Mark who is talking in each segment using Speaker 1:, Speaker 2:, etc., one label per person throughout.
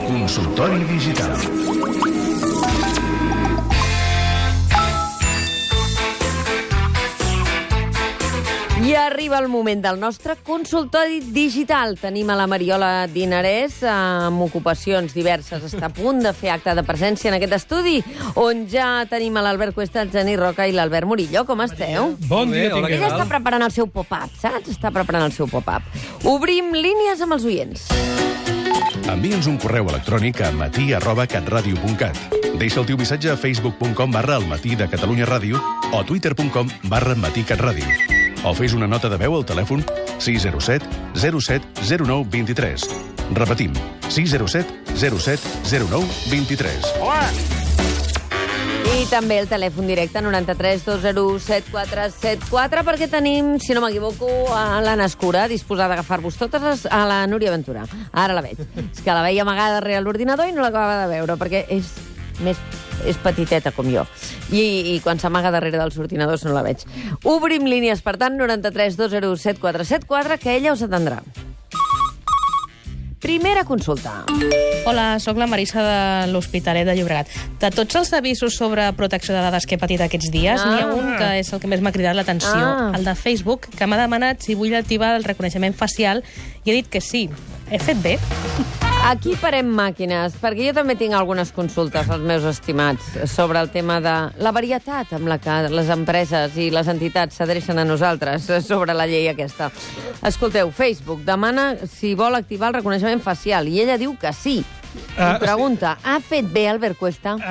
Speaker 1: Territori Digital.
Speaker 2: I arriba el moment del nostre consultori digital. Tenim a la Mariola Dinarès amb ocupacions diverses. Està a punt de fer acte de presència en aquest estudi, on ja tenim a l'Albert Cuesta, el Geni Roca i l'Albert Murillo. Com esteu?
Speaker 3: Bon dia,
Speaker 4: hola,
Speaker 3: tingueu.
Speaker 2: Ella està preparant el seu pop-up, saps? Està preparant el seu pop-up. Obrim línies amb els oients.
Speaker 1: Envia'ns un correu electrònic a matí arroba catradio.cat. Deixa el teu missatge a facebook.com barra el matí de Catalunya Ràdio o twitter.com barra matí catradio. O fes una nota de veu al telèfon 607 07 09 23. Repetim, 607 07 09 23.
Speaker 2: I també el telèfon directe 93 201 7474 perquè tenim, si no m'equivoco, a l'Anna Escura disposada a agafar-vos totes les, a la Núria Ventura. Ara la veig. És que la veia amagada darrere l'ordinador i no l'acabava de veure perquè és més és petiteta com jo. I, i quan s'amaga darrere dels ordinadors no la veig. Obrim línies, per tant, 93 201 7474, que ella us atendrà. Primera consulta.
Speaker 5: Hola, sóc la Marisa de l'Hospitalet de Llobregat. De tots els avisos sobre protecció de dades que he patit aquests dies,
Speaker 2: Ah.
Speaker 5: n'hi ha un que és el que més m'ha cridat l'atenció,
Speaker 2: Ah.
Speaker 5: el de Facebook, que m'ha demanat si vull activar el reconeixement facial i he dit que sí. He fet bé?
Speaker 2: Aquí parem màquines, perquè jo també tinc algunes consultes als meus estimats sobre el tema de la varietat amb la que les empreses i les entitats s'adrecen a nosaltres sobre la llei aquesta. Escolteu, Facebook demana si vol activar el reconeixement facial i ella diu que sí.
Speaker 3: Ah,
Speaker 2: Uh, pregunta, ha fet bé Albert Cuesta?
Speaker 3: Uh,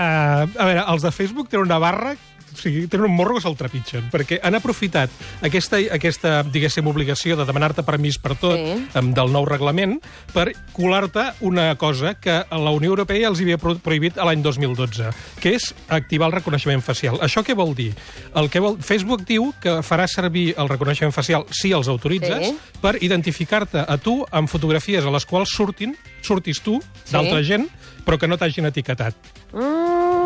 Speaker 3: a veure, els de Facebook tenen una barra o sigui, tenen un morro que se'l trepitgen, perquè han aprofitat aquesta, aquesta diguéssim, obligació de demanar-te permís per tot
Speaker 2: Sí.
Speaker 3: um, del nou reglament per colar-te una cosa que la Unió Europea els havia pro prohibit a l'any 2012, que és activar el reconeixement facial. Això què vol dir? El que vol... Facebook diu que farà servir el reconeixement facial si els autoritzes
Speaker 2: Sí.
Speaker 3: per identificar-te a tu amb fotografies a les quals surtin, surtis tu,
Speaker 2: Sí.
Speaker 3: d'altra gent, però que no t'hagin etiquetat.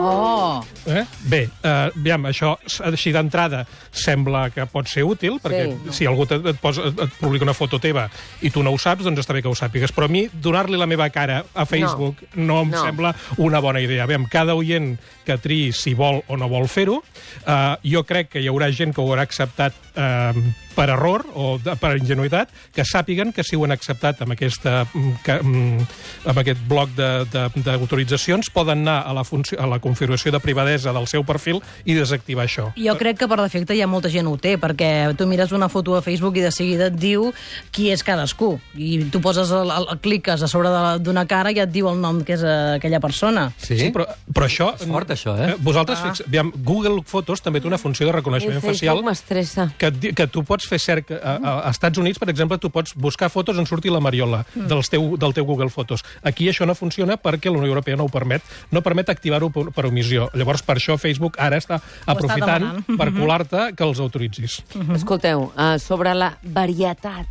Speaker 6: Oh,
Speaker 3: Eh? Bé, eh, aviam, això s- així d'entrada sembla que pot ser útil, perquè
Speaker 2: Sí.
Speaker 3: si algú te- et, posa, et et publica una foto teva i tu no ho saps, doncs està bé que ho sàpigues. Però a mi donar-li la meva cara a Facebook no, no em
Speaker 2: No.
Speaker 3: sembla una bona idea. Aviam, cada oient que triï si vol o no vol fer-ho, eh, jo crec que hi haurà gent que ho haurà acceptat eh, per error o de, per ingenuïtat, que sàpiguen que si ho han acceptat amb, aquesta, mm, que, mm, amb aquest bloc de- de- d'autoritzacions, poden anar a la, funció, a la configuració de privadesa del seu perfil i desactivar això.
Speaker 6: jo crec que per defecte hi ha molta gent ho té, perquè tu mires una foto a Facebook i de seguida et diu qui és cadascú. I tu poses el, el, el cliques a sobre de la- d'una cara i et diu el nom que és eh, aquella persona.
Speaker 4: Sí?
Speaker 3: Sí, però, però això...
Speaker 4: És fort, això, eh?
Speaker 3: Vosaltres, ah. aviam, Google Fotos també té una funció de reconeixement facial
Speaker 2: m'estressa.
Speaker 3: que, et di- que tu pots fer cerca. A, a, a Estats Units, per exemple, tu pots buscar fotos on surti la Mariola mm. del, teu, del teu Google Fotos. Aquí això no funciona perquè la Unió Europea no ho permet, no permet activar-ho per, per omissió. Llavors, per això Facebook ara està aprofitant
Speaker 6: demanant.
Speaker 3: per colar-te que els autoritzis.
Speaker 6: Mhm.
Speaker 2: Escolteu, uh, sobre la varietat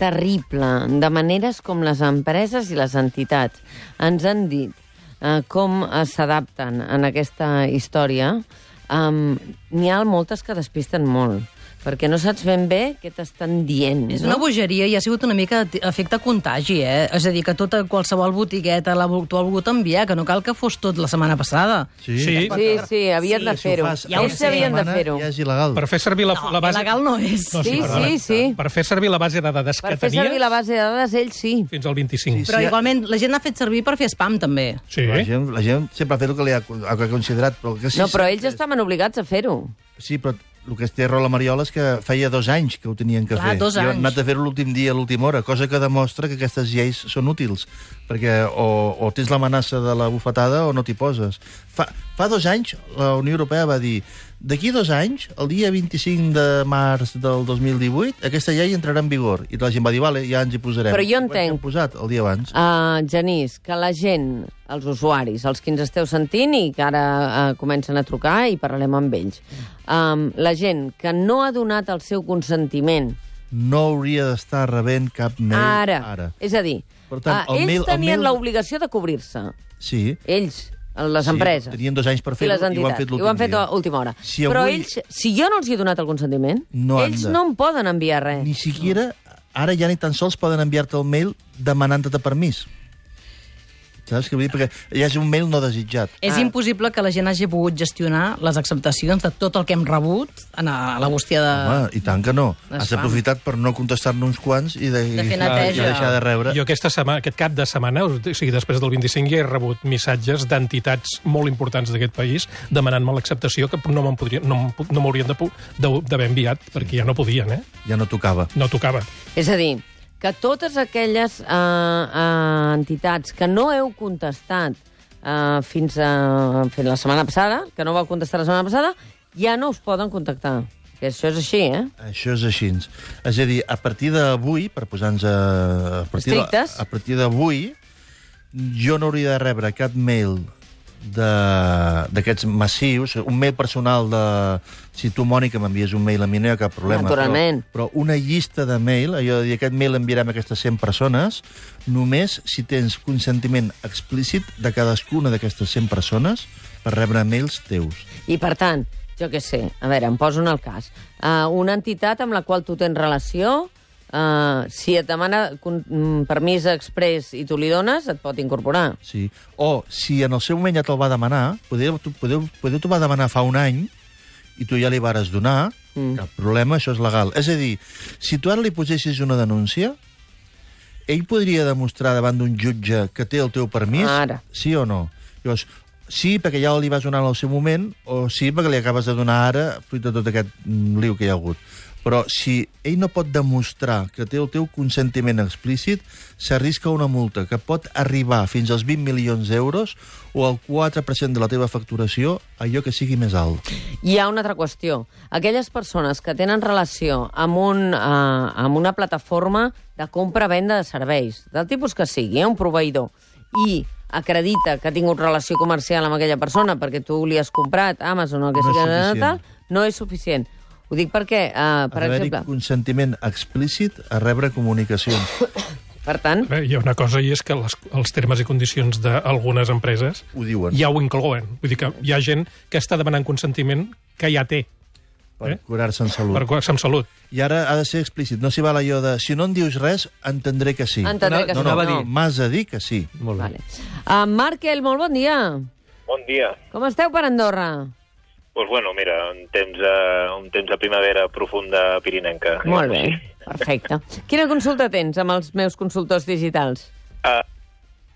Speaker 2: terrible de maneres com les empreses i les entitats ens han dit uh, com eh, s'adapten en aquesta història, um, n'hi ha moltes que despisten molt, perquè no saps ben bé què t'estan dient.
Speaker 6: És
Speaker 2: no?
Speaker 6: una bogeria i ha sigut una mica t- efecte contagi, eh? És a dir, que tota qualsevol botigueta l'ha vol- t'ho ha volgut enviar, que no cal que fos tot la setmana passada.
Speaker 3: Sí,
Speaker 2: Sí, sí, havien de fer-ho.
Speaker 7: Ja ho
Speaker 2: Ells havien de fer-ho.
Speaker 7: Ja és il·legal.
Speaker 3: per fer servir la, la base...
Speaker 6: Legal no és.
Speaker 3: No,
Speaker 2: Sí,
Speaker 3: perdona.
Speaker 2: sí, sí.
Speaker 3: Per fer servir la base de dades
Speaker 2: Per
Speaker 3: que
Speaker 2: fer servir
Speaker 3: tenies
Speaker 2: la base de dades, ells sí.
Speaker 3: fins al 25.
Speaker 6: Però
Speaker 7: Sí,
Speaker 6: igualment la gent l'ha fet servir per fer spam, també.
Speaker 3: Sí.
Speaker 7: La gent, la gent sempre ha fet el que, li ha, el que ha considerat. Però que sí,
Speaker 2: No, però
Speaker 7: sí,
Speaker 2: ells estaven obligats a fer-ho.
Speaker 7: Sí, però el que té raó la Mariola és que feia dos anys que ho tenien que
Speaker 6: Clar,
Speaker 7: fer.
Speaker 6: dos
Speaker 7: I
Speaker 6: anys.
Speaker 7: han anat a fer-ho l'últim dia, a l'última hora, cosa que demostra que aquestes lleis són útils, perquè o, o tens l'amenaça de la bufetada o no t'hi poses. Fa, fa dos anys la Unió Europea va dir d'aquí dos anys, el dia 25 de març del 2018, aquesta llei entrarà en vigor. I la gent va dir, vale, ja ens hi posarem.
Speaker 2: Però jo
Speaker 7: I quan s'hi han
Speaker 2: entenc.
Speaker 7: posat el dia abans.
Speaker 2: Uh, Genís, que la gent, els usuaris, els que ens esteu sentint i que ara uh, comencen a trucar i parlarem amb ells, um, la gent que no ha donat el seu consentiment
Speaker 7: no hauria d'estar rebent cap mail
Speaker 2: ara,
Speaker 7: ara.
Speaker 2: és a dir,
Speaker 7: Per tant,
Speaker 2: uh,
Speaker 7: el
Speaker 2: ells
Speaker 7: mail- el
Speaker 2: tenien
Speaker 7: mail-
Speaker 2: l'obligació de cobrir-se,
Speaker 7: Sí.
Speaker 2: ells, les
Speaker 7: sí,
Speaker 2: empreses.
Speaker 7: Tenien dos anys per
Speaker 2: I
Speaker 7: fer-ho
Speaker 2: les
Speaker 7: i ho han
Speaker 2: entitats.
Speaker 7: fet
Speaker 2: I ho han
Speaker 7: l'últim
Speaker 2: fet a
Speaker 7: dia.
Speaker 2: última hora.
Speaker 7: Si
Speaker 2: Però
Speaker 7: avui-
Speaker 2: ells, si jo no els hi he donat el consentiment,
Speaker 7: No han
Speaker 2: ells
Speaker 7: de.
Speaker 2: no em poden enviar res.
Speaker 7: Ni siquiera, ara ja ni tan sols poden enviar-te el mail demanant-te permís. Saps què vull dir? Perquè hi hagi un mail no desitjat.
Speaker 6: És
Speaker 2: Ah.
Speaker 6: impossible que la gent hagi pogut gestionar les acceptacions de tot el que hem rebut en a- a la bústia de...
Speaker 7: Home, Ah, i tant que no.
Speaker 6: Es
Speaker 7: Has
Speaker 6: fan.
Speaker 7: aprofitat per no contestar-ne uns quants i, de,
Speaker 6: De fer
Speaker 7: i
Speaker 6: neteja.
Speaker 7: deixar de rebre.
Speaker 3: Jo aquesta setmana, aquest cap de setmana, o sigui, després del 25, ja he rebut missatges d'entitats molt importants d'aquest país demanant-me l'acceptació que no me'n podria- no me'n pu- no m'haurien no de, de- d'haver enviat, perquè ja no podien, eh?
Speaker 7: Ja no tocava.
Speaker 3: No tocava.
Speaker 2: És a dir, que totes aquelles eh, eh, entitats que no heu contestat eh, fins, a, fins la setmana passada, que no vau contestar la setmana passada, ja no us poden contactar. Que això és així, eh?
Speaker 7: Això és així. És a dir, a partir d'avui, per posar-nos a, a partir de-
Speaker 2: Estrictes.
Speaker 7: a partir d'avui, jo no hauria de rebre cap mail de- d'aquests massius, un mail personal de... Si tu, Mònica, m'envies un mail a mi, no hi ha cap problema.
Speaker 2: Naturalment.
Speaker 7: Però, però una llista de mail, allò de dir aquest mail l'enviarem a aquestes 100 persones, només si tens consentiment explícit de cadascuna d'aquestes 100 persones per rebre mails teus.
Speaker 2: I, per tant, jo què sé, a veure, em poso en el cas. Uh, una entitat amb la qual tu tens relació, uh, si et demana con- mm, permís express i tu li dones, et pot incorporar.
Speaker 7: Sí. O, si en el seu moment ja te'l va demanar, poder, tu- poder, poder t'ho va demanar fa un any i tu ja li vares donar, mm. cap problema, això és legal. És a dir, si tu ara li posessis una denúncia, ell podria demostrar davant d'un jutge que té el teu permís,
Speaker 2: Ara.
Speaker 7: sí o no? Llavors, sí, perquè ja li vas donar en el seu moment, o sí, perquè li acabes de donar ara, fruit de tot aquest mm, liu que hi ha hagut. Però si ell no pot demostrar que té el teu consentiment explícit, s'arrisca una multa que pot arribar fins als 20 milions d'euros o al 4% de la teva facturació, allò que sigui més alt.
Speaker 2: Hi ha una altra qüestió. Aquelles persones que tenen relació amb, un, eh, amb una plataforma de compra-venda de serveis, del tipus que sigui, eh, un proveïdor, i acredita que ha tingut relació comercial amb aquella persona perquè tu li has comprat Amazon o el que
Speaker 7: No és
Speaker 2: sigui,
Speaker 7: suficient.
Speaker 2: tal, no és suficient. Ho dic perquè, eh, per
Speaker 7: Ha d'haver-hi
Speaker 2: exemple...
Speaker 7: consentiment explícit a rebre comunicacions.
Speaker 2: Per tant,
Speaker 3: Bé, hi ha una cosa i és que les, els termes i condicions d'algunes empreses
Speaker 7: Ho diuen.
Speaker 3: ja ho inclouen. Vull dir que hi ha gent que està demanant consentiment que ja té
Speaker 7: per
Speaker 3: Eh?
Speaker 7: curar-se en salut.
Speaker 3: per qüestions amb salut.
Speaker 7: I ara ha de ser explícit. No s'hi val allò de... Si no en dius res, entendré que sí.
Speaker 2: entendré que
Speaker 7: no,
Speaker 2: sí,
Speaker 7: no,
Speaker 2: no.
Speaker 7: m'has de dir que sí.
Speaker 4: Molt bé.
Speaker 2: Vale. Uh, Markel, molt bon dia.
Speaker 8: Bon dia.
Speaker 2: Com esteu per Andorra?
Speaker 8: Doncs pues bueno, mira, un temps, a, un temps de primavera profunda pirinenca.
Speaker 2: Molt bé, perfecte. Quina consulta tens amb els meus consultors digitals?
Speaker 8: Uh,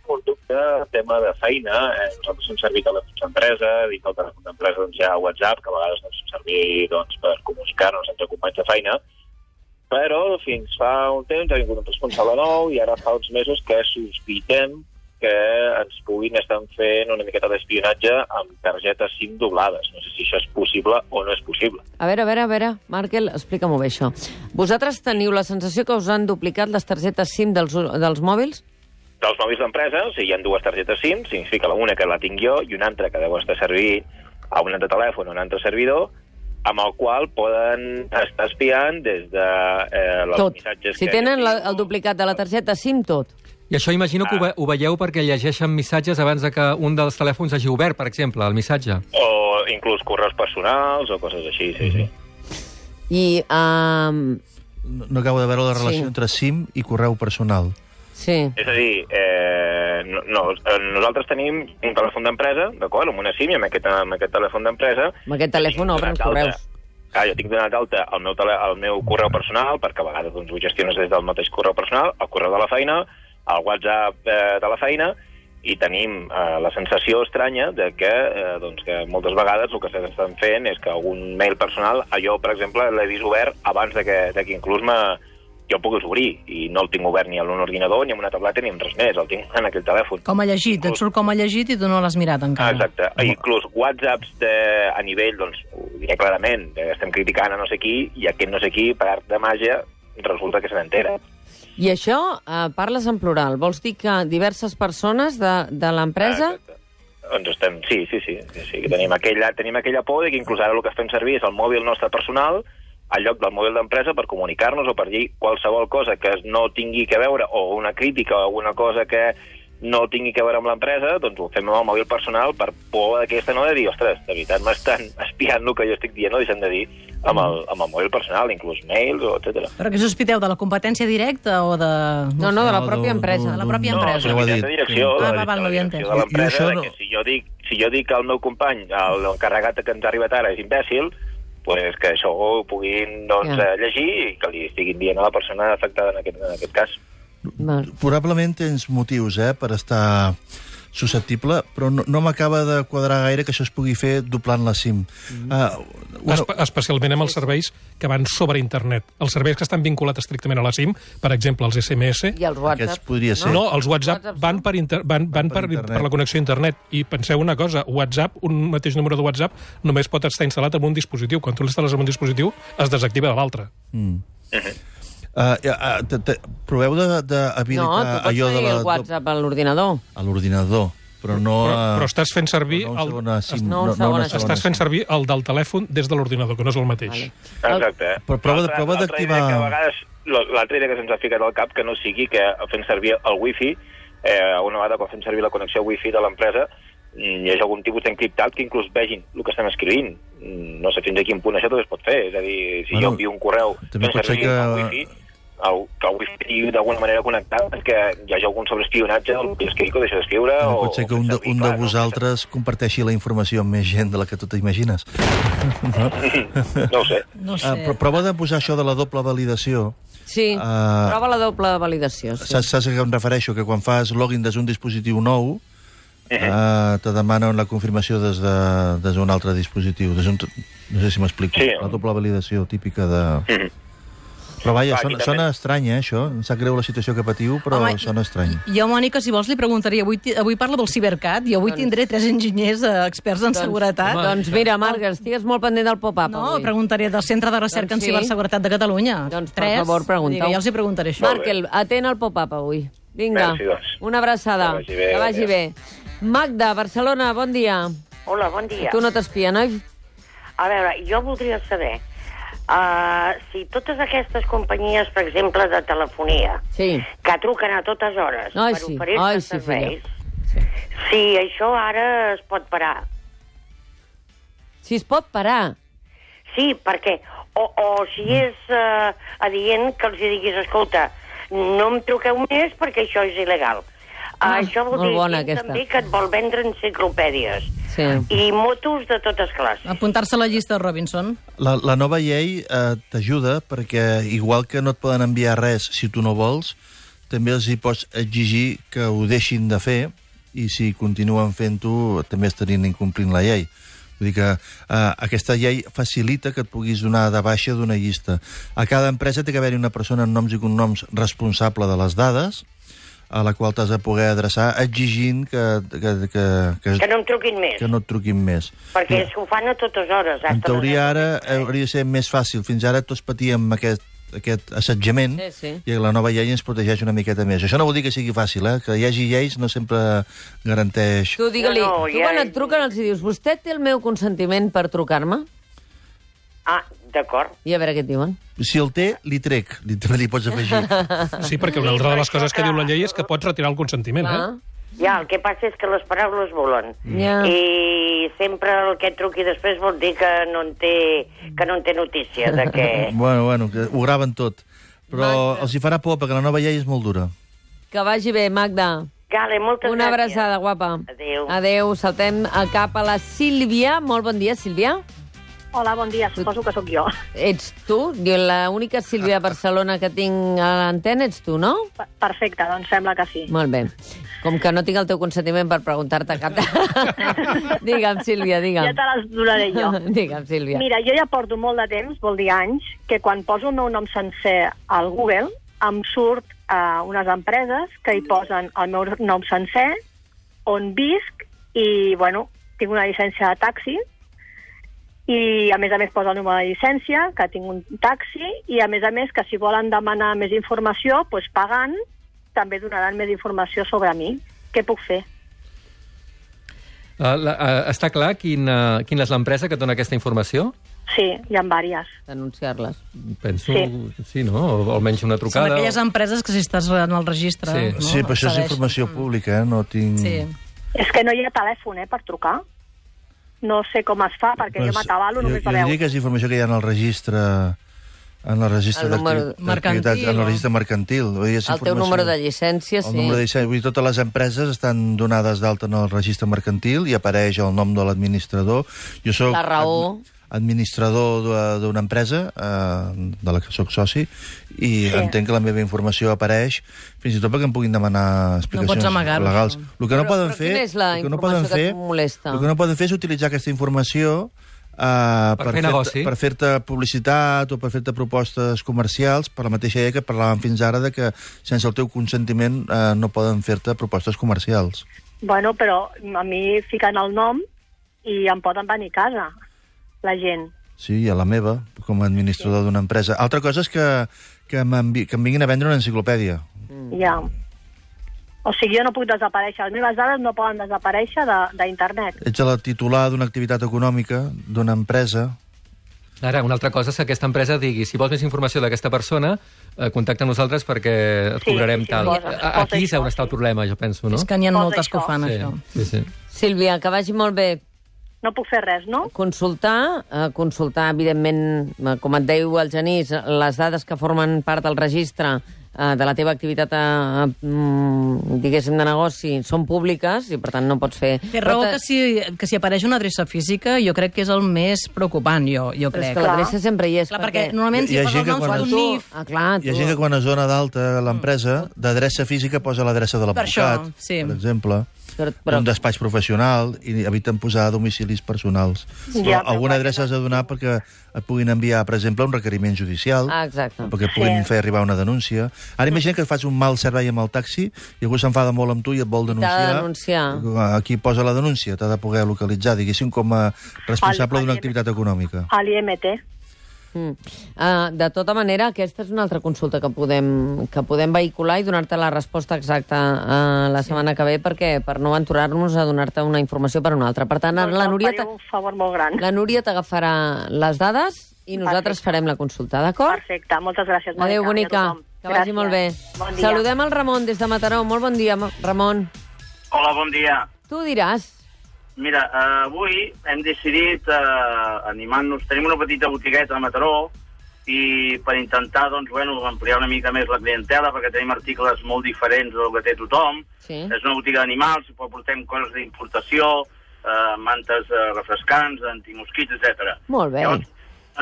Speaker 8: un dubte, tema de feina. Eh, nosaltres fem servir telèfons d'empresa, dins del telèfon d'empresa doncs, hi ha WhatsApp, que a vegades doncs, fem servir doncs, per comunicar-nos entre companys de feina, però fins fa un temps ha vingut un responsable nou i ara fa uns mesos que sospitem que ens puguin estar fent una miqueta d'espionatge amb targetes SIM doblades. No sé si això és possible o no és possible.
Speaker 2: A veure, a veure, a veure, Markel, explica-m'ho bé, això. Vosaltres teniu la sensació que us han duplicat les targetes SIM dels, dels mòbils?
Speaker 8: dels mòbils d'empresa, o sigui, hi ha dues targetes SIM, significa la una que la tinc jo i una altra que deu estar servir a un altre telèfon o un altre servidor, amb el qual poden estar espiant des de eh, els
Speaker 2: Tot.
Speaker 8: missatges
Speaker 2: Si
Speaker 8: que
Speaker 2: tenen
Speaker 8: jo
Speaker 2: la,
Speaker 8: tinc.
Speaker 2: el duplicat de la targeta SIM, tot.
Speaker 4: I això imagino que ho, ve
Speaker 9: Ah.
Speaker 4: ho veieu perquè llegeixen missatges abans de que un dels telèfons hagi obert, per exemple, el missatge.
Speaker 8: O inclús correus personals o coses així, sí, sí.
Speaker 2: I, um,
Speaker 7: No, no acabo de veure la relació
Speaker 2: Sí.
Speaker 7: sí. entre SIM i correu personal.
Speaker 2: sí,
Speaker 8: És a dir, eh, no, no, eh, nosaltres tenim un telèfon d'empresa, d'acord, amb una SIM i amb aquest, amb aquest telèfon d'empresa...
Speaker 2: amb aquest telèfon
Speaker 8: tinc
Speaker 2: obren
Speaker 8: donat
Speaker 2: correus.
Speaker 8: d'alta- Clar, Ah, jo tinc donat d'alta el meu, tele, el meu correu personal, perquè a vegades doncs, ho gestiones des del mateix correu personal, el correu de la feina, el WhatsApp eh, de la feina, i tenim eh, la sensació estranya de que, eh, doncs, que moltes vegades el que s'estan fent és que algun mail personal, ah, jo, per exemple, l'he vist obert abans de que, de que inclús me, jo el pogués obrir, i no el tinc obert ni a un ordinador, ni a una tauleta, ni en res més, el tinc en aquell telèfon.
Speaker 6: Com a llegit, et surt com a llegit i tu no l'has mirat
Speaker 8: Ah,
Speaker 6: encara.
Speaker 8: exacte. I inclús whatsapps de, a nivell, doncs, ho diré clarament, eh, estem criticant a no sé qui, i aquest no sé qui, per art de màgia, resulta que se n'entera.
Speaker 2: I això, eh, parles en plural. Vols dir que diverses persones de, de l'empresa...
Speaker 8: Ah, exacte. Doncs estem, sí, sí, sí, sí, sí que tenim, aquella, tenim aquella por de que inclús ara el que fem servir és el mòbil nostre personal al lloc del mòbil d'empresa per comunicar-nos o per dir qualsevol cosa que no tingui que veure o una crítica o alguna cosa que no tingui que veure amb l'empresa, doncs ho fem amb el mòbil personal per por d'aquesta no de dir, ostres, de veritat m'estan espiant el que jo estic dient, no deixem de dir amb el, amb el mòbil personal, inclús mails, etc.
Speaker 6: Però que sospiteu, de la competència directa o de...
Speaker 2: No, no, de la
Speaker 7: No,
Speaker 2: pròpia
Speaker 7: no,
Speaker 2: empresa.
Speaker 7: no,
Speaker 6: La pròpia
Speaker 8: No,
Speaker 6: empresa.
Speaker 8: és una
Speaker 7: Ho ha
Speaker 8: mitjana de
Speaker 7: dit,
Speaker 8: direcció,
Speaker 7: sí.
Speaker 8: de,
Speaker 6: Ah, va, val,
Speaker 8: de
Speaker 6: no
Speaker 8: la
Speaker 6: havia
Speaker 8: direcció
Speaker 7: entès.
Speaker 8: de
Speaker 7: I- i
Speaker 8: l'empresa,
Speaker 7: això
Speaker 8: de
Speaker 7: no-
Speaker 8: que si jo dic, si jo dic que el meu company, el- l'encarregat que ens ha arribat ara, és imbècil, pues que això ho puguin doncs,
Speaker 2: Ja.
Speaker 8: yeah. llegir i que li estiguin dient a la persona afectada en aquest, en aquest cas.
Speaker 2: Val.
Speaker 7: Probablement tens motius eh, per estar susceptible, però no, no m'acaba de quadrar gaire que això es pugui fer doblant la SIM. Mm -hmm. uh,
Speaker 3: Espe especialment amb els serveis que van sobre internet. Els serveis que estan vinculats estrictament a la SIM, per exemple, els SMS...
Speaker 2: I els
Speaker 7: Aquests
Speaker 2: WhatsApp.
Speaker 7: podria ser.
Speaker 3: No, els WhatsApp
Speaker 2: WhatsApp,
Speaker 3: van per, inter, van, van per, per,
Speaker 7: internet.
Speaker 3: per la connexió a internet. I penseu una cosa, WhatsApp, un mateix número de WhatsApp, només pot estar instal·lat en un dispositiu. Quan tu l'instal·les en un dispositiu, es desactiva de l'altre.
Speaker 8: Mhm.
Speaker 7: Uh, uh, te, te, mm. proveu de-
Speaker 2: No,
Speaker 7: d'habilitar
Speaker 2: tu
Speaker 7: de,
Speaker 2: pots
Speaker 7: eh, allò de
Speaker 2: tenir
Speaker 7: la,
Speaker 2: el WhatsApp a l'ordinador.
Speaker 7: a l'ordinador, però no...
Speaker 3: Però,
Speaker 7: a-
Speaker 3: però estàs fent servir...
Speaker 7: no,
Speaker 3: el,
Speaker 7: una segona SIM,
Speaker 2: No,
Speaker 7: no,
Speaker 2: un
Speaker 7: no,
Speaker 2: segon,
Speaker 7: una
Speaker 2: estàs
Speaker 7: segona
Speaker 3: estàs fent
Speaker 7: SIM.
Speaker 3: servir el del telèfon des de l'ordinador, que no és el mateix.
Speaker 8: Exacte. eh.
Speaker 7: Però prova de-
Speaker 8: L'altra-
Speaker 7: prova
Speaker 8: l'altra
Speaker 7: d'activar-
Speaker 8: idea que a vegades- lo- L'altra idea que se'ns ha ficat al cap, que no sigui que fent servir el wifi, eh, una vegada quan fem servir la connexió wifi de l'empresa, mm, hi hagi algun tipus d'encriptat que inclús vegin el que estem escrivint. Mm, No sé fins a quin punt això també es pot fer. És a dir, si
Speaker 7: Bueno,
Speaker 8: jo envio un correu
Speaker 7: també
Speaker 8: fent
Speaker 7: pot ser
Speaker 8: servir el
Speaker 7: que-
Speaker 8: wifi, el, que el wifi estigui d'alguna manera connectat perquè hi hagi algun sobreespionatge del que escric o deixo d'escriure.
Speaker 7: També
Speaker 8: o-
Speaker 7: pot ser que
Speaker 8: o
Speaker 7: un de,
Speaker 8: servir,
Speaker 7: un de
Speaker 8: clar, no?
Speaker 7: vosaltres comparteixi la informació amb més gent de la que tu t'imagines.
Speaker 8: No ho sé.
Speaker 6: No sé.
Speaker 7: Uh, però prova de posar això de la doble validació.
Speaker 2: Sí,
Speaker 7: Eh,
Speaker 8: Ah.
Speaker 2: prova la doble validació. Sí.
Speaker 7: Saps, saps a què em refereixo? Que quan fas login des d'un dispositiu nou, eh, te demanen la confirmació des de- des d'un de, altre dispositiu. Des d'un, no sé si m'explico.
Speaker 8: Sí.
Speaker 7: La doble validació típica de...
Speaker 8: Mhm.
Speaker 7: Però vaja,
Speaker 8: Clar,
Speaker 7: sona,
Speaker 8: aquí també-
Speaker 7: sona estrany, eh, això. Em sap greu la situació que patiu, però
Speaker 6: Home,
Speaker 7: sona estrany.
Speaker 6: Jo, Mònica, si vols, li preguntaria. Avui, ti- avui parla del cibercat i avui tindré tres enginyers eh, experts en seguretat.
Speaker 2: Doncs mira, Marc, estigues molt pendent del pop-up
Speaker 6: No,
Speaker 2: avui.
Speaker 6: preguntaré del Centre de Recerca
Speaker 2: Doncs
Speaker 6: doncs
Speaker 2: sí.
Speaker 6: sí. en Ciberseguretat de Catalunya.
Speaker 2: Doncs, per
Speaker 6: Tres,
Speaker 2: favor, pregunta-ho.
Speaker 6: Digue, ja els hi preguntaré això.
Speaker 2: Marc, el- atén al pop-up avui. Vinga,
Speaker 8: Merci, doncs.
Speaker 2: una abraçada.
Speaker 8: Que vagi bé,
Speaker 2: que vagi
Speaker 8: adéu.
Speaker 2: bé. Magda, Barcelona, bon dia.
Speaker 10: Hola, bon dia.
Speaker 2: Tu no t'espia, no?
Speaker 10: A veure, jo voldria saber uh, si totes aquestes companyies, per exemple, de telefonia,
Speaker 2: Sí.
Speaker 10: que truquen a totes hores
Speaker 2: Ai,
Speaker 10: per
Speaker 2: sí.
Speaker 10: oferir
Speaker 2: Ai, sí,
Speaker 10: serveis,
Speaker 2: Sí.
Speaker 10: si això ara es pot parar.
Speaker 2: Si es pot parar.
Speaker 10: Sí, perquè... O, o
Speaker 2: Mm.
Speaker 10: si és uh, adient que els hi diguis, escolta, no em truqueu més perquè això és il·legal.
Speaker 2: Ah,
Speaker 10: Ah, això vol
Speaker 2: molt
Speaker 10: dir
Speaker 2: bona,
Speaker 10: gent
Speaker 2: aquesta.
Speaker 10: també que et vol vendre enciclopèdies
Speaker 2: Sí.
Speaker 10: i motos de totes classes.
Speaker 6: Apuntar-se a la llista, Robinson.
Speaker 7: La, la nova llei eh, t'ajuda perquè, igual que no et poden enviar res si tu no vols, també els hi pots exigir que ho deixin de fer i si continuen fent-ho també estarien incomplint la llei. Vull dir que eh, aquesta llei facilita que et puguis donar de baixa d'una llista. A cada empresa té que haver-hi una persona amb noms i cognoms responsable de les dades a la qual t'has de poder adreçar exigint que, que, que, que,
Speaker 10: Que no em truquin més,
Speaker 7: que no et truquin més.
Speaker 10: perquè és que ho fan a totes hores.
Speaker 7: En
Speaker 10: hasta les
Speaker 7: teoria ara
Speaker 10: hores.
Speaker 7: hauria de ser més fàcil. Fins ara tots patíem aquest, aquest assetjament
Speaker 2: Sí, sí.
Speaker 7: Mm? i la nova llei ens protegeix una miqueta més. Això no vol dir que sigui fàcil, eh? que hi hagi lleis no sempre garanteix...
Speaker 2: Tu digue-li,
Speaker 10: No, no,
Speaker 2: tu
Speaker 10: ja-
Speaker 2: quan et truquen els hi dius, vostè té el meu consentiment per trucar-me?
Speaker 10: Ah, d'acord.
Speaker 2: I a veure què et diuen.
Speaker 7: Si el té, li trec, li, també li pots afegir.
Speaker 3: Sí, perquè una altra de les coses que diu la llei és que pots retirar el consentiment, eh?
Speaker 2: Clar.
Speaker 10: Ja, el que passa és que les paraules volen.
Speaker 2: Ja.
Speaker 10: I sempre el que et truqui després vol dir que no en té, que no en té notícia de que...
Speaker 7: bueno, bueno, que ho graven tot. Però els hi farà por, perquè la nova llei és molt dura.
Speaker 2: Que vagi bé, Magda.
Speaker 10: Gale, moltes
Speaker 2: Una
Speaker 10: gràcies.
Speaker 2: abraçada, guapa.
Speaker 10: Adéu.
Speaker 2: Adéu. Saltem a cap a la Sílvia. Molt bon dia, Sílvia.
Speaker 9: Hola, bon dia, suposo que sóc jo. Ah.
Speaker 2: Ets tu? Diu, L'única Sílvia de Barcelona que tinc a l'antena ets tu, no?
Speaker 9: Per- Perfecte, doncs sembla que sí.
Speaker 2: Molt bé. Com que no tinc el teu consentiment per preguntar-te cap... de- digue'm, Sílvia,
Speaker 9: Ja
Speaker 2: digue'm.
Speaker 9: te les donaré jo.
Speaker 2: digue'm, Sílvia.
Speaker 9: Mira, jo ja porto molt de temps, vol dir anys, que quan poso el meu nom sencer al Google em surt eh, unes empreses que hi posen el meu nom sencer, on visc, i, bueno, tinc una llicència de taxi, i a més a més posa el número de llicència, que tinc un taxi, i a més a més que si volen demanar més informació, doncs pagant, també donaran més informació sobre mi. Què puc fer?
Speaker 4: Uh, la, uh, està clar quina, quina és l'empresa que et dona aquesta informació?
Speaker 9: Sí, hi ha diverses.
Speaker 2: Denunciar-les.
Speaker 4: Penso...
Speaker 9: Sí.
Speaker 4: sí no? O, o almenys una
Speaker 6: Són
Speaker 4: trucada...
Speaker 6: aquelles empreses que si estàs en el registre...
Speaker 4: Sí.
Speaker 6: no?
Speaker 7: sí, però això és
Speaker 6: accedeix.
Speaker 9: Mm.
Speaker 7: informació pública, eh? no tinc...
Speaker 6: Sí.
Speaker 9: És que no hi ha telèfon, eh, per trucar. no sé com es fa, perquè pues, jo m'atabalo
Speaker 7: jo,
Speaker 9: només
Speaker 7: jo
Speaker 9: de veu.
Speaker 7: diria que és informació que hi ha en el registre en el registre
Speaker 2: El número
Speaker 7: d'activi- d'activitat,
Speaker 6: mercantil,
Speaker 7: en
Speaker 6: o-
Speaker 7: el registre mercantil. Vull dir, és
Speaker 2: El teu
Speaker 7: informació-
Speaker 2: número de llicència,
Speaker 7: El
Speaker 2: sí.
Speaker 7: número de llicència. Vull dir, totes les empreses estan donades d'alta en el registre mercantil i apareix el nom de l'administrador. Jo soc
Speaker 2: La raó.
Speaker 7: ad- administrador de- d'una empresa eh, de la que sóc soci i sí. entenc que la meva informació apareix fins i tot perquè em puguin demanar explicacions
Speaker 6: amagar-ho,
Speaker 7: legals.
Speaker 6: no.
Speaker 7: El que no
Speaker 2: Però-
Speaker 7: poden
Speaker 2: però
Speaker 7: fer,
Speaker 2: quina és la
Speaker 7: el que no poden
Speaker 2: informació que
Speaker 7: fer,
Speaker 2: et molesta?
Speaker 7: el que no poden fer és utilitzar aquesta informació Uh,
Speaker 4: Per fer negoci.
Speaker 7: per fer-te publicitat o per fer-te propostes comercials, per la mateixa idea que parlàvem fins ara de que sense el teu consentiment uh, no poden fer-te propostes comercials.
Speaker 9: Bueno, però a mi fiquen el nom i em poden venir a casa, la gent.
Speaker 7: Sí, i a la meva, com a administrador d'una empresa. Altra cosa és que, que, m'envi- que em vinguin a vendre una enciclopèdia.
Speaker 9: Mm. Ja. O sigui, jo no puc desaparèixer. Les meves dades no poden desaparèixer de- d'internet. De,
Speaker 7: Ets la titular d'una activitat econòmica, d'una empresa...
Speaker 4: Ara, una altra cosa és que aquesta empresa digui si vols més informació d'aquesta persona, eh, contacta nosaltres perquè et
Speaker 9: Sí,
Speaker 4: cobrarem
Speaker 9: sí,
Speaker 4: tal.
Speaker 9: posa- posa
Speaker 4: Aquí és
Speaker 9: això,
Speaker 4: on està el problema, jo penso,
Speaker 6: No?
Speaker 4: no?
Speaker 6: És que n'hi ha
Speaker 9: Tot
Speaker 6: moltes que ho
Speaker 9: això.
Speaker 6: fan,
Speaker 4: Sí,
Speaker 6: això.
Speaker 4: sí, sí.
Speaker 2: Sílvia, que vagi molt bé.
Speaker 9: no puc fer res, no?
Speaker 2: Consultar, eh, consultar, evidentment, eh, com et deiu el Genís, les dades que formen part del registre eh, de la teva activitat, eh, mm, diguéssim, de negoci, són públiques i, per tant, no pots fer...
Speaker 6: Té raó
Speaker 2: Però
Speaker 6: que si, que si apareix una adreça física jo crec que és el més preocupant, jo, jo
Speaker 2: Però és
Speaker 6: crec.
Speaker 2: que l'adreça sempre hi és,
Speaker 6: Clar, perquè normalment
Speaker 7: Hi
Speaker 6: si
Speaker 7: ha
Speaker 6: posa
Speaker 7: gent
Speaker 6: el
Speaker 7: que
Speaker 6: nom
Speaker 7: quan
Speaker 6: surt
Speaker 7: es-
Speaker 6: un NIF.
Speaker 2: Ah, clar, tu...
Speaker 7: Hi ha gent que quan es dona d'alta l'empresa, d'adreça física posa l'adreça de
Speaker 6: Per això,
Speaker 7: l'advocat,
Speaker 6: sí.
Speaker 7: per exemple,
Speaker 2: Però- però-
Speaker 7: però... un despatx professional, i eviten posar domicilis personals.
Speaker 9: Ja,
Speaker 7: però
Speaker 9: però
Speaker 7: alguna
Speaker 9: clar,
Speaker 7: adreça has de donar perquè et puguin enviar, per exemple, un requeriment judicial,
Speaker 2: Ah, exacte.
Speaker 7: perquè et puguin
Speaker 9: Sí.
Speaker 7: fer arribar una denúncia. Ara imagina que et fas un mal servei amb el taxi i algú s'enfada molt amb tu i et vol
Speaker 2: t'ha de
Speaker 7: denunciar. eh,
Speaker 2: denunciar.
Speaker 7: Aquí posa la denúncia, t'ha de poder localitzar, diguéssim, com a responsable
Speaker 9: Al- al-
Speaker 7: d'una activitat econòmica.
Speaker 9: A l'IMT.
Speaker 2: Mm. Uh, de tota manera, aquesta és una altra consulta que podem, que podem vehicular i donar-te la resposta exacta uh, la setmana que ve, perquè per no aventurar-nos a donar-te una informació per una altra. Per tant,
Speaker 9: Doncs
Speaker 2: la
Speaker 9: em
Speaker 2: Núria,
Speaker 9: fareu
Speaker 2: t'ag-
Speaker 9: un favor molt gran.
Speaker 2: la Núria t'agafarà les dades i nosaltres
Speaker 9: Perfecte.
Speaker 2: farem la consulta, d'acord?
Speaker 9: Perfecte, moltes gràcies. Mònica,
Speaker 2: Adéu,
Speaker 9: i a
Speaker 2: bonica.
Speaker 9: tothom.
Speaker 2: Que vagi molt bé.
Speaker 9: Bon dia.
Speaker 2: Saludem el Ramon des de Mataró. Molt bon dia, Ma- Ramon.
Speaker 11: Hola, bon dia.
Speaker 2: Tu diràs.
Speaker 11: Mira, eh, avui hem decidit, eh, animant-nos, tenim una petita botigueta a Mataró i per intentar doncs, bueno, ampliar una mica més la clientela perquè tenim articles molt diferents del que té tothom.
Speaker 2: Sí.
Speaker 8: Mm.
Speaker 11: És una botiga d'animals, però portem coses d'importació, eh, mantes eh, refrescants, antimosquits, etc.
Speaker 2: Molt bé.
Speaker 11: Llavors,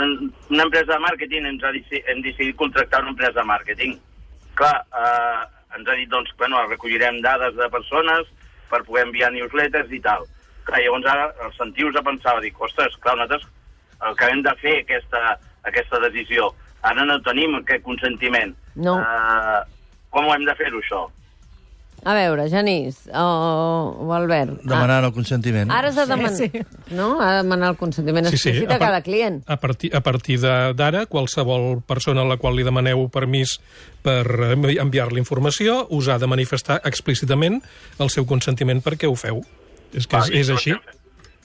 Speaker 11: en, una empresa de màrqueting ens ha deci- hem decidit contractar una empresa de màrqueting. Clar, eh, ens ha dit, doncs, bueno, recollirem dades de persones per poder enviar newsletters i tal. Clar, llavors ara el sentiu a pensava, dic, ostres, clar, nosaltres el que hem de fer aquesta, aquesta decisió. Ara no tenim aquest consentiment.
Speaker 2: No.
Speaker 11: Eh, com ho hem de fer-ho, això?
Speaker 2: A veure, Genís o, o Albert. Ah.
Speaker 7: Demanant el consentiment.
Speaker 2: Ara has de demanar, sí, sí. no? Ha de demanar el consentiment sí, sí.
Speaker 3: a
Speaker 2: explícit a
Speaker 3: par-
Speaker 2: cada client.
Speaker 3: A partir, a partir de- d'ara, qualsevol persona a la qual li demaneu permís per eh, enviar-li informació us ha de manifestar explícitament el seu consentiment perquè ho feu. És que és, és així.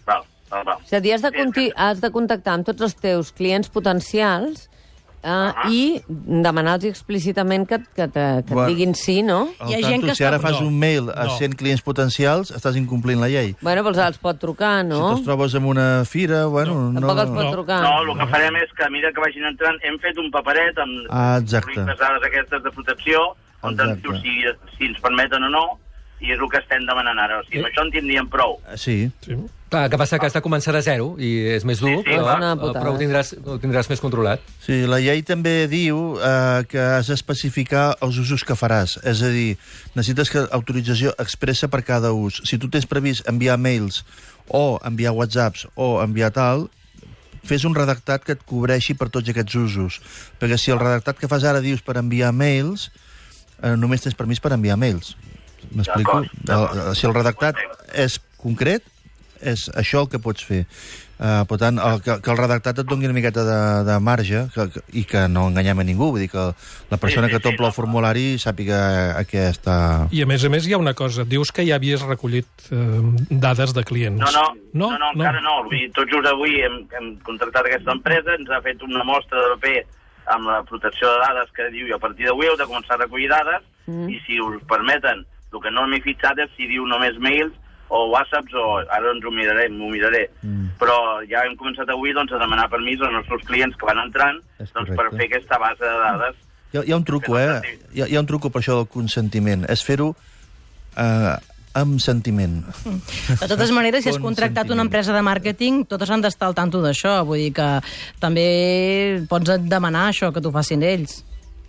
Speaker 11: Val, val, val.
Speaker 2: És a dir, has de, conti has de contactar amb tots els teus clients potencials eh, i demanar-los explícitament que, que, te, que et
Speaker 7: Bueno.
Speaker 2: diguin sí, no?
Speaker 7: Al
Speaker 6: Hi ha
Speaker 7: tanto,
Speaker 6: gent que
Speaker 7: si ara
Speaker 6: està-
Speaker 7: fas
Speaker 3: No,
Speaker 7: un mail a
Speaker 3: no.
Speaker 7: 100 clients potencials, estàs incomplint la llei.
Speaker 2: Bueno, però els pot trucar,
Speaker 7: Si
Speaker 2: no?
Speaker 7: te'ls trobes en una fira, bueno... No,
Speaker 2: Tampoc els pot
Speaker 3: No.
Speaker 2: trucar.
Speaker 11: No, el que farem és que, mira que vagin entrant, hem fet un paperet amb
Speaker 7: Ah, exacte.
Speaker 11: les dades aquestes de protecció, on ens diu
Speaker 7: Exacte.
Speaker 11: si, si ens permeten o no, i és el que estem demanant ara. O sigui, amb això en tindríem prou.
Speaker 7: Sí.
Speaker 3: Sí.
Speaker 4: Clar, el que passa que has de començar de zero i és més dur,
Speaker 11: Sí, sí,
Speaker 4: però,
Speaker 11: clar.
Speaker 2: Una
Speaker 4: eh,
Speaker 2: putada.
Speaker 4: però ho, tindràs, ho tindràs més controlat.
Speaker 7: sí, la llei també diu eh, que has d'especificar els usos que faràs. És a dir, necessites que autorització expressa per cada ús. Si tu tens previst enviar mails o enviar whatsapps o enviar tal, fes un redactat que et cobreixi per tots aquests usos. Perquè si el redactat que fas ara dius per enviar mails, eh, només tens permís per enviar mails. M'explico?
Speaker 11: D'acord,
Speaker 7: El- Si el redactat és concret, és això el que pots fer. Uh, per tant, el, que, que el redactat et doni una miqueta de, de marge que, que, i que no enganyem a ningú. Vull dir que la persona
Speaker 11: sí,
Speaker 7: que
Speaker 11: sí,
Speaker 7: t'omple
Speaker 11: no,
Speaker 7: el formulari sàpiga a què està...
Speaker 3: I a més a més hi ha una cosa. Dius que ja havies recollit eh, dades de clients.
Speaker 11: No, no, no, no, encara no. Vull dir, Tot just avui hem, hem contractat aquesta empresa, ens ha fet una mostra de paper amb la protecció de dades que diu i a partir d'avui heu de començar a recollir dades mm. i si us permeten, el que no m'he fixat és si diu només mails o whatsapps, o ara ens ho miraré, m'ho miraré. Mm. Però ja hem començat avui doncs, a demanar permís als nostres clients que van entrant doncs, per fer aquesta base de dades.
Speaker 7: Hi ha, hi ha un truco, eh? Hi ha, hi ha un truco per això del consentiment. És fer-ho eh, amb sentiment.
Speaker 6: De totes maneres, si has
Speaker 7: Bon
Speaker 6: contractat una empresa de màrqueting, totes han d'estar al tanto d'això. Vull dir que també pots demanar això, que t'ho facin ells.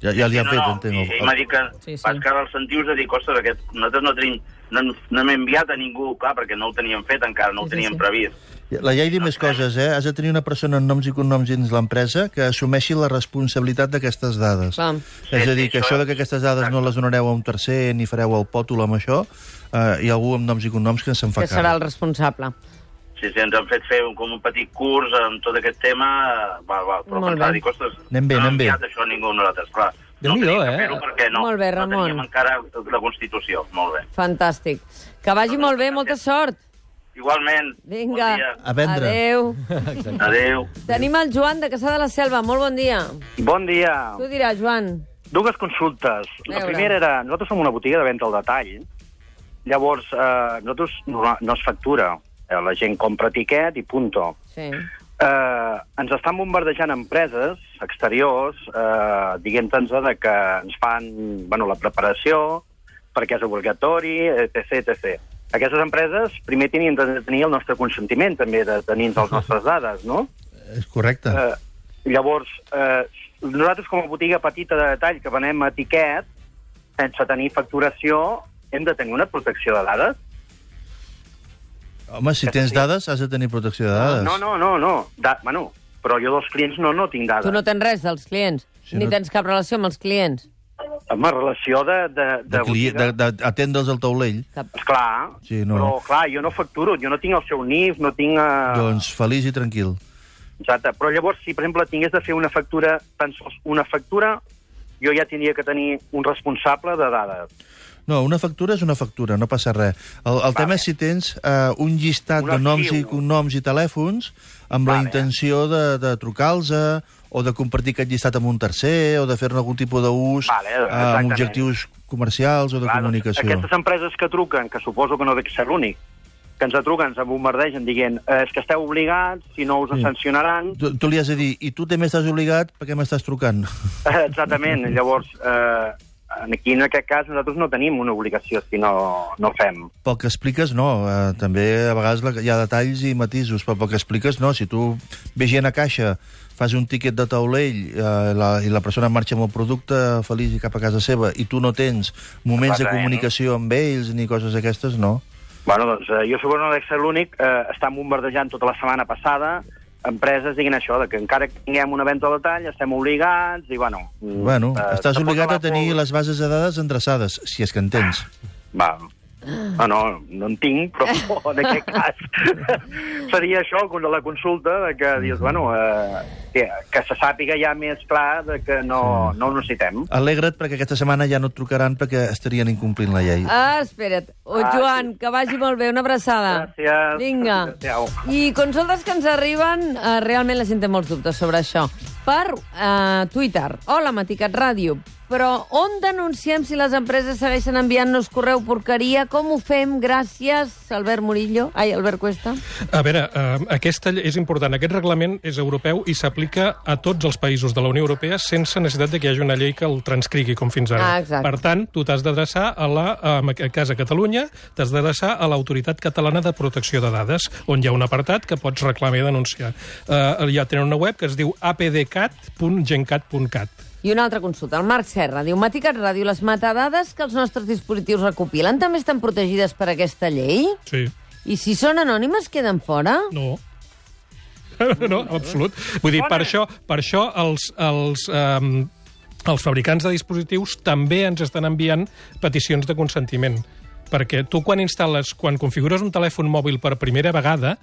Speaker 7: Ja, ja li ha
Speaker 11: no,
Speaker 7: fet,
Speaker 11: no,
Speaker 7: entenc.
Speaker 11: i- Ell m'ha dit que sí, sí. vas quedar al sentiu de dir, ostres, aquest, nosaltres no, tenim, no, hem- no hem enviat a ningú, clar, perquè no ho teníem fet encara, no ho teníem previst.
Speaker 7: La llei diu més coses, eh? Has de tenir una persona amb noms i cognoms dins l'empresa que assumeixi la responsabilitat d'aquestes dades. És a dir, que això de que aquestes dades no les donareu a un tercer ni fareu el pòtol amb això, eh, hi ha algú amb noms i cognoms que se'n fa
Speaker 2: que serà
Speaker 7: cara.
Speaker 2: el responsable.
Speaker 11: Sí, sí, ens han fet fer un, com un petit curs amb tot aquest tema, eh, val, val, però
Speaker 2: Molt
Speaker 11: pensava,
Speaker 2: bé.
Speaker 11: dic, ostres,
Speaker 7: Anem bé,
Speaker 11: no hem
Speaker 7: anem bé.
Speaker 11: enviat això a ningú a nosaltres, clar.
Speaker 4: déu nhi eh?
Speaker 11: Però perquè no,
Speaker 2: Molt bé,
Speaker 11: no teníem
Speaker 2: Ramon.
Speaker 11: encara la Constitució, molt bé.
Speaker 2: Fantàstic. Que vagi molt bé, molta sort.
Speaker 11: Igualment,
Speaker 2: Vinga.
Speaker 7: A vendre.
Speaker 2: Adéu.
Speaker 11: adeu.
Speaker 2: Tenim el Joan de Caçà de la Selva. Molt bon dia.
Speaker 12: Bon dia.
Speaker 2: Tu diràs, Joan.
Speaker 12: Dues consultes.
Speaker 2: Veure.
Speaker 12: La primera era, nosaltres som una botiga de venda al detall, llavors eh, nosaltres no, no es factura, eh, la gent compra tiquet i punto.
Speaker 2: Sí.
Speaker 12: Eh, ens estan bombardejant empreses exteriors, eh, diguem-te'ns de que ens fan bueno, la preparació, perquè és obligatori, etc, etc. Aquestes empreses primer tenien de tenir el nostre consentiment, també, de tenir les nostres dades, no?
Speaker 7: És correcte.
Speaker 12: Eh, llavors, eh, nosaltres com a botiga petita de detall que venem a etiquet, sense tenir facturació, hem de tenir una protecció de dades?
Speaker 7: Home, si tens dades, has de tenir protecció de dades.
Speaker 12: No, no, no, no. Da, bueno, però jo dels clients no, no tinc
Speaker 2: Tu
Speaker 12: dades.
Speaker 2: no tens res dels clients, ni
Speaker 7: no-
Speaker 2: tens cap relació amb els clients.
Speaker 12: Amb relació de... De,
Speaker 7: De, cli... de, de, atendre'ls al taulell.
Speaker 12: Clar,
Speaker 7: Sí, no.
Speaker 12: però clar, jo no facturo, jo no tinc el seu NIF, no tinc... Eh...
Speaker 7: Doncs feliç i tranquil.
Speaker 12: Exacte, però llavors, si per exemple tingués de fer una factura, tan sols una factura, jo ja tindria que tenir un responsable de dades.
Speaker 7: No, una factura és una factura, no passa res. El, el tema és si tens eh, un llistat
Speaker 12: Un
Speaker 7: de noms i
Speaker 12: arxiu.
Speaker 7: cognoms i telèfons amb la intenció de, de trucar-los o de compartir aquest llistat amb un tercer o de fer-ne algun tipus d'ús
Speaker 12: Vale,
Speaker 7: eh,
Speaker 12: exactament.
Speaker 7: amb objectius comercials o de
Speaker 12: Clar, doncs,
Speaker 7: comunicació.
Speaker 12: Aquestes empreses que truquen, que suposo que no dec ser l'únic, que ens truquen, ens bombardegen dient eh, és que esteu obligats, si no us
Speaker 7: Sí.
Speaker 12: sí. sancionaran...
Speaker 7: Tu, tu li has de dir, i tu també estàs obligat, per què m'estàs trucant?
Speaker 12: Eh, Exactament, llavors... Eh, aquí, en aquest cas, nosaltres no tenim una obligació si no, no fem.
Speaker 7: Pel que expliques, no. Eh, també a vegades la, hi ha detalls i matisos, però pel que expliques, no. Si tu ve gent a caixa, fas un tiquet de taulell eh, la, i la persona marxa amb el producte feliç i cap a casa seva i tu no tens moments de
Speaker 12: Exactament.
Speaker 7: comunicació amb ells ni coses d'aquestes, no.
Speaker 12: Bueno, doncs eh, jo suposo que no dec ser l'únic. Eh, estan bombardejant tota la setmana passada empreses diguin això, de que encara que tinguem una venda al detall estem obligats i, bueno... mm,
Speaker 7: Bueno,
Speaker 12: eh,
Speaker 7: estàs
Speaker 12: tampoc
Speaker 7: obligat
Speaker 12: no
Speaker 7: a
Speaker 12: va
Speaker 7: tenir les bases de dades endreçades, si és que en tens.
Speaker 12: Va. No, no, no en tinc, però en aquest cas seria això, com la consulta, de que dius, bueno, eh, que, que se sàpiga ja més clar de que no, no ho necessitem.
Speaker 7: Alegra't perquè aquesta setmana ja no et trucaran perquè estarien incomplint la llei.
Speaker 2: Ah, espera't. Oh,
Speaker 7: Ah,
Speaker 2: Joan, que vagi molt bé. Una abraçada.
Speaker 12: Gràcies.
Speaker 2: Vinga.
Speaker 12: Adéu.
Speaker 2: I consultes que ens arriben, eh, realment la gent té molts dubtes sobre això. Per eh, Twitter, hola Maticat Ràdio, però on denunciem si les empreses segueixen enviant-nos correu porqueria? Com ho fem? Gràcies, Albert Murillo. Ai, Albert Cuesta.
Speaker 3: A veure, eh, aquesta lle- és important. Aquest reglament és europeu i s'aplica a tots els països de la Unió Europea sense necessitat de que hi hagi una llei que el transcrigui, com fins ara.
Speaker 2: Ah, exacte.
Speaker 3: per tant, tu t'has d'adreçar, a la, en aquest cas a Catalunya, t'has d'adreçar a l'Autoritat Catalana de Protecció de Dades, on hi ha un apartat que pots reclamar i denunciar. Eh, ja tenen una web que es diu apdcat.gencat.cat.
Speaker 2: I una altra consulta. El Marc Serra diu, Maticat Ràdio, les metadades que els nostres dispositius recopilen també estan protegides per aquesta llei?
Speaker 3: Sí.
Speaker 2: I si són anònimes, queden fora?
Speaker 3: No. No, en absolut. Vull dir, per això, per això els, els, um, els fabricants de dispositius també ens estan enviant peticions de consentiment. Perquè tu quan instal·les, quan configures un telèfon mòbil per primera vegada,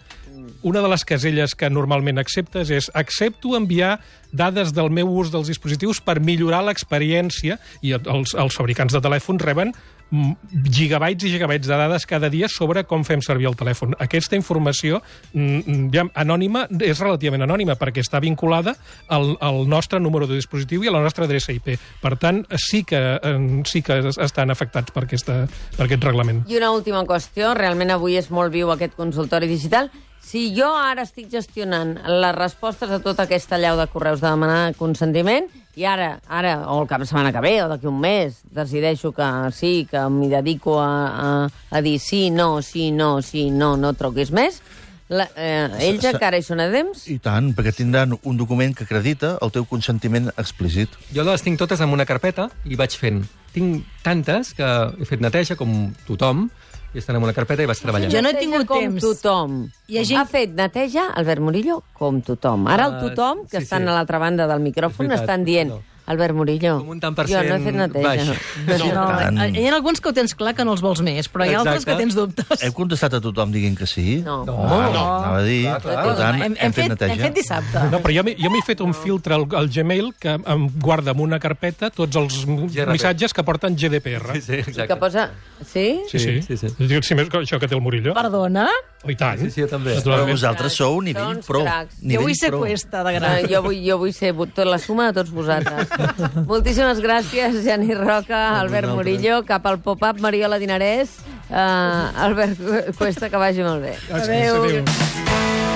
Speaker 3: una de les caselles que normalment acceptes és accepto enviar dades del meu ús dels dispositius per millorar l'experiència i els, els fabricants de telèfons reben mm, gigabytes i gigabytes de dades cada dia sobre com fem servir el telèfon. Aquesta informació mm, mm, ja, anònima és relativament anònima perquè està vinculada al, al nostre número de dispositiu i a la nostra adreça IP. Per tant, sí que, eh, sí que es- estan afectats per, aquesta, per aquest reglament.
Speaker 2: I una última qüestió, realment avui és molt viu aquest consultori digital. Si jo ara estic gestionant les respostes a tota aquesta llau de correus de demanar consentiment, i ara, ara o el cap de setmana que ve, o d'aquí un mes, decideixo que sí, que m'hi dedico a, a, a dir sí, no, sí, no, sí, no, no truquis més, la, eh, ells
Speaker 7: S- s-
Speaker 2: encara hi són a temps?
Speaker 7: I tant, perquè tindran un document que acredita el teu consentiment explícit.
Speaker 4: Jo les tinc totes en una carpeta i vaig fent. Tinc tantes que he fet neteja, com tothom, i estan en una carpeta i vaig treballant.
Speaker 2: Jo no he tingut com temps. tothom. gent... Ha fet neteja Albert Murillo com tothom. Ara el
Speaker 4: Ah,
Speaker 2: tothom, que
Speaker 4: sí,
Speaker 2: estan
Speaker 4: sí.
Speaker 2: a l'altra banda del micròfon,
Speaker 4: És veritat,
Speaker 2: estan dient Albert Murillo,
Speaker 4: un tant per
Speaker 2: jo no he
Speaker 4: cent
Speaker 2: fet neteja.
Speaker 4: baix. No,
Speaker 7: Mm.
Speaker 4: tant.
Speaker 6: Eh, Hi ha alguns que ho tens clar que no els vols més, però hi ha altres que tens dubtes.
Speaker 7: Hem contestat a tothom dient que sí?
Speaker 2: No.
Speaker 7: no. Anava a dir,
Speaker 3: Clar, clar.
Speaker 7: per tant,
Speaker 6: Hem-
Speaker 7: hem,
Speaker 6: hem
Speaker 7: fet,
Speaker 6: fet-
Speaker 7: neteja.
Speaker 6: hem fet dissabte.
Speaker 3: No, però jo m'he jo m'he fet un filtre al, al Gmail que em guarda en una carpeta tots els m-
Speaker 4: GRP.
Speaker 3: missatges que porten GDPR.
Speaker 4: Sí, sí,
Speaker 2: Que
Speaker 4: exacte.
Speaker 2: posa... Sí?
Speaker 3: Sí, sí. sí, sí. Jo dic, si més que això que té el Murillo.
Speaker 6: Perdona?
Speaker 3: Oh, I tant.
Speaker 4: Sí, sí, jo també.
Speaker 7: Però
Speaker 3: Naturalment.
Speaker 7: vosaltres sou nivell
Speaker 2: Doncs,
Speaker 7: pro.
Speaker 2: cracs.
Speaker 7: Nivell
Speaker 6: jo vull ser
Speaker 7: pro.
Speaker 6: cuesta de gran.
Speaker 2: No, jo, vull, jo vull ser vo- tot la suma de tots vosaltres. Moltíssimes gràcies, Jani
Speaker 4: Doncs
Speaker 2: Roca, Albert
Speaker 7: vosaltres.
Speaker 2: Murillo, cap al pop-up, Mariola Dinarès, eh, Albert Cuesta, que vagi molt bé.
Speaker 3: Adéu.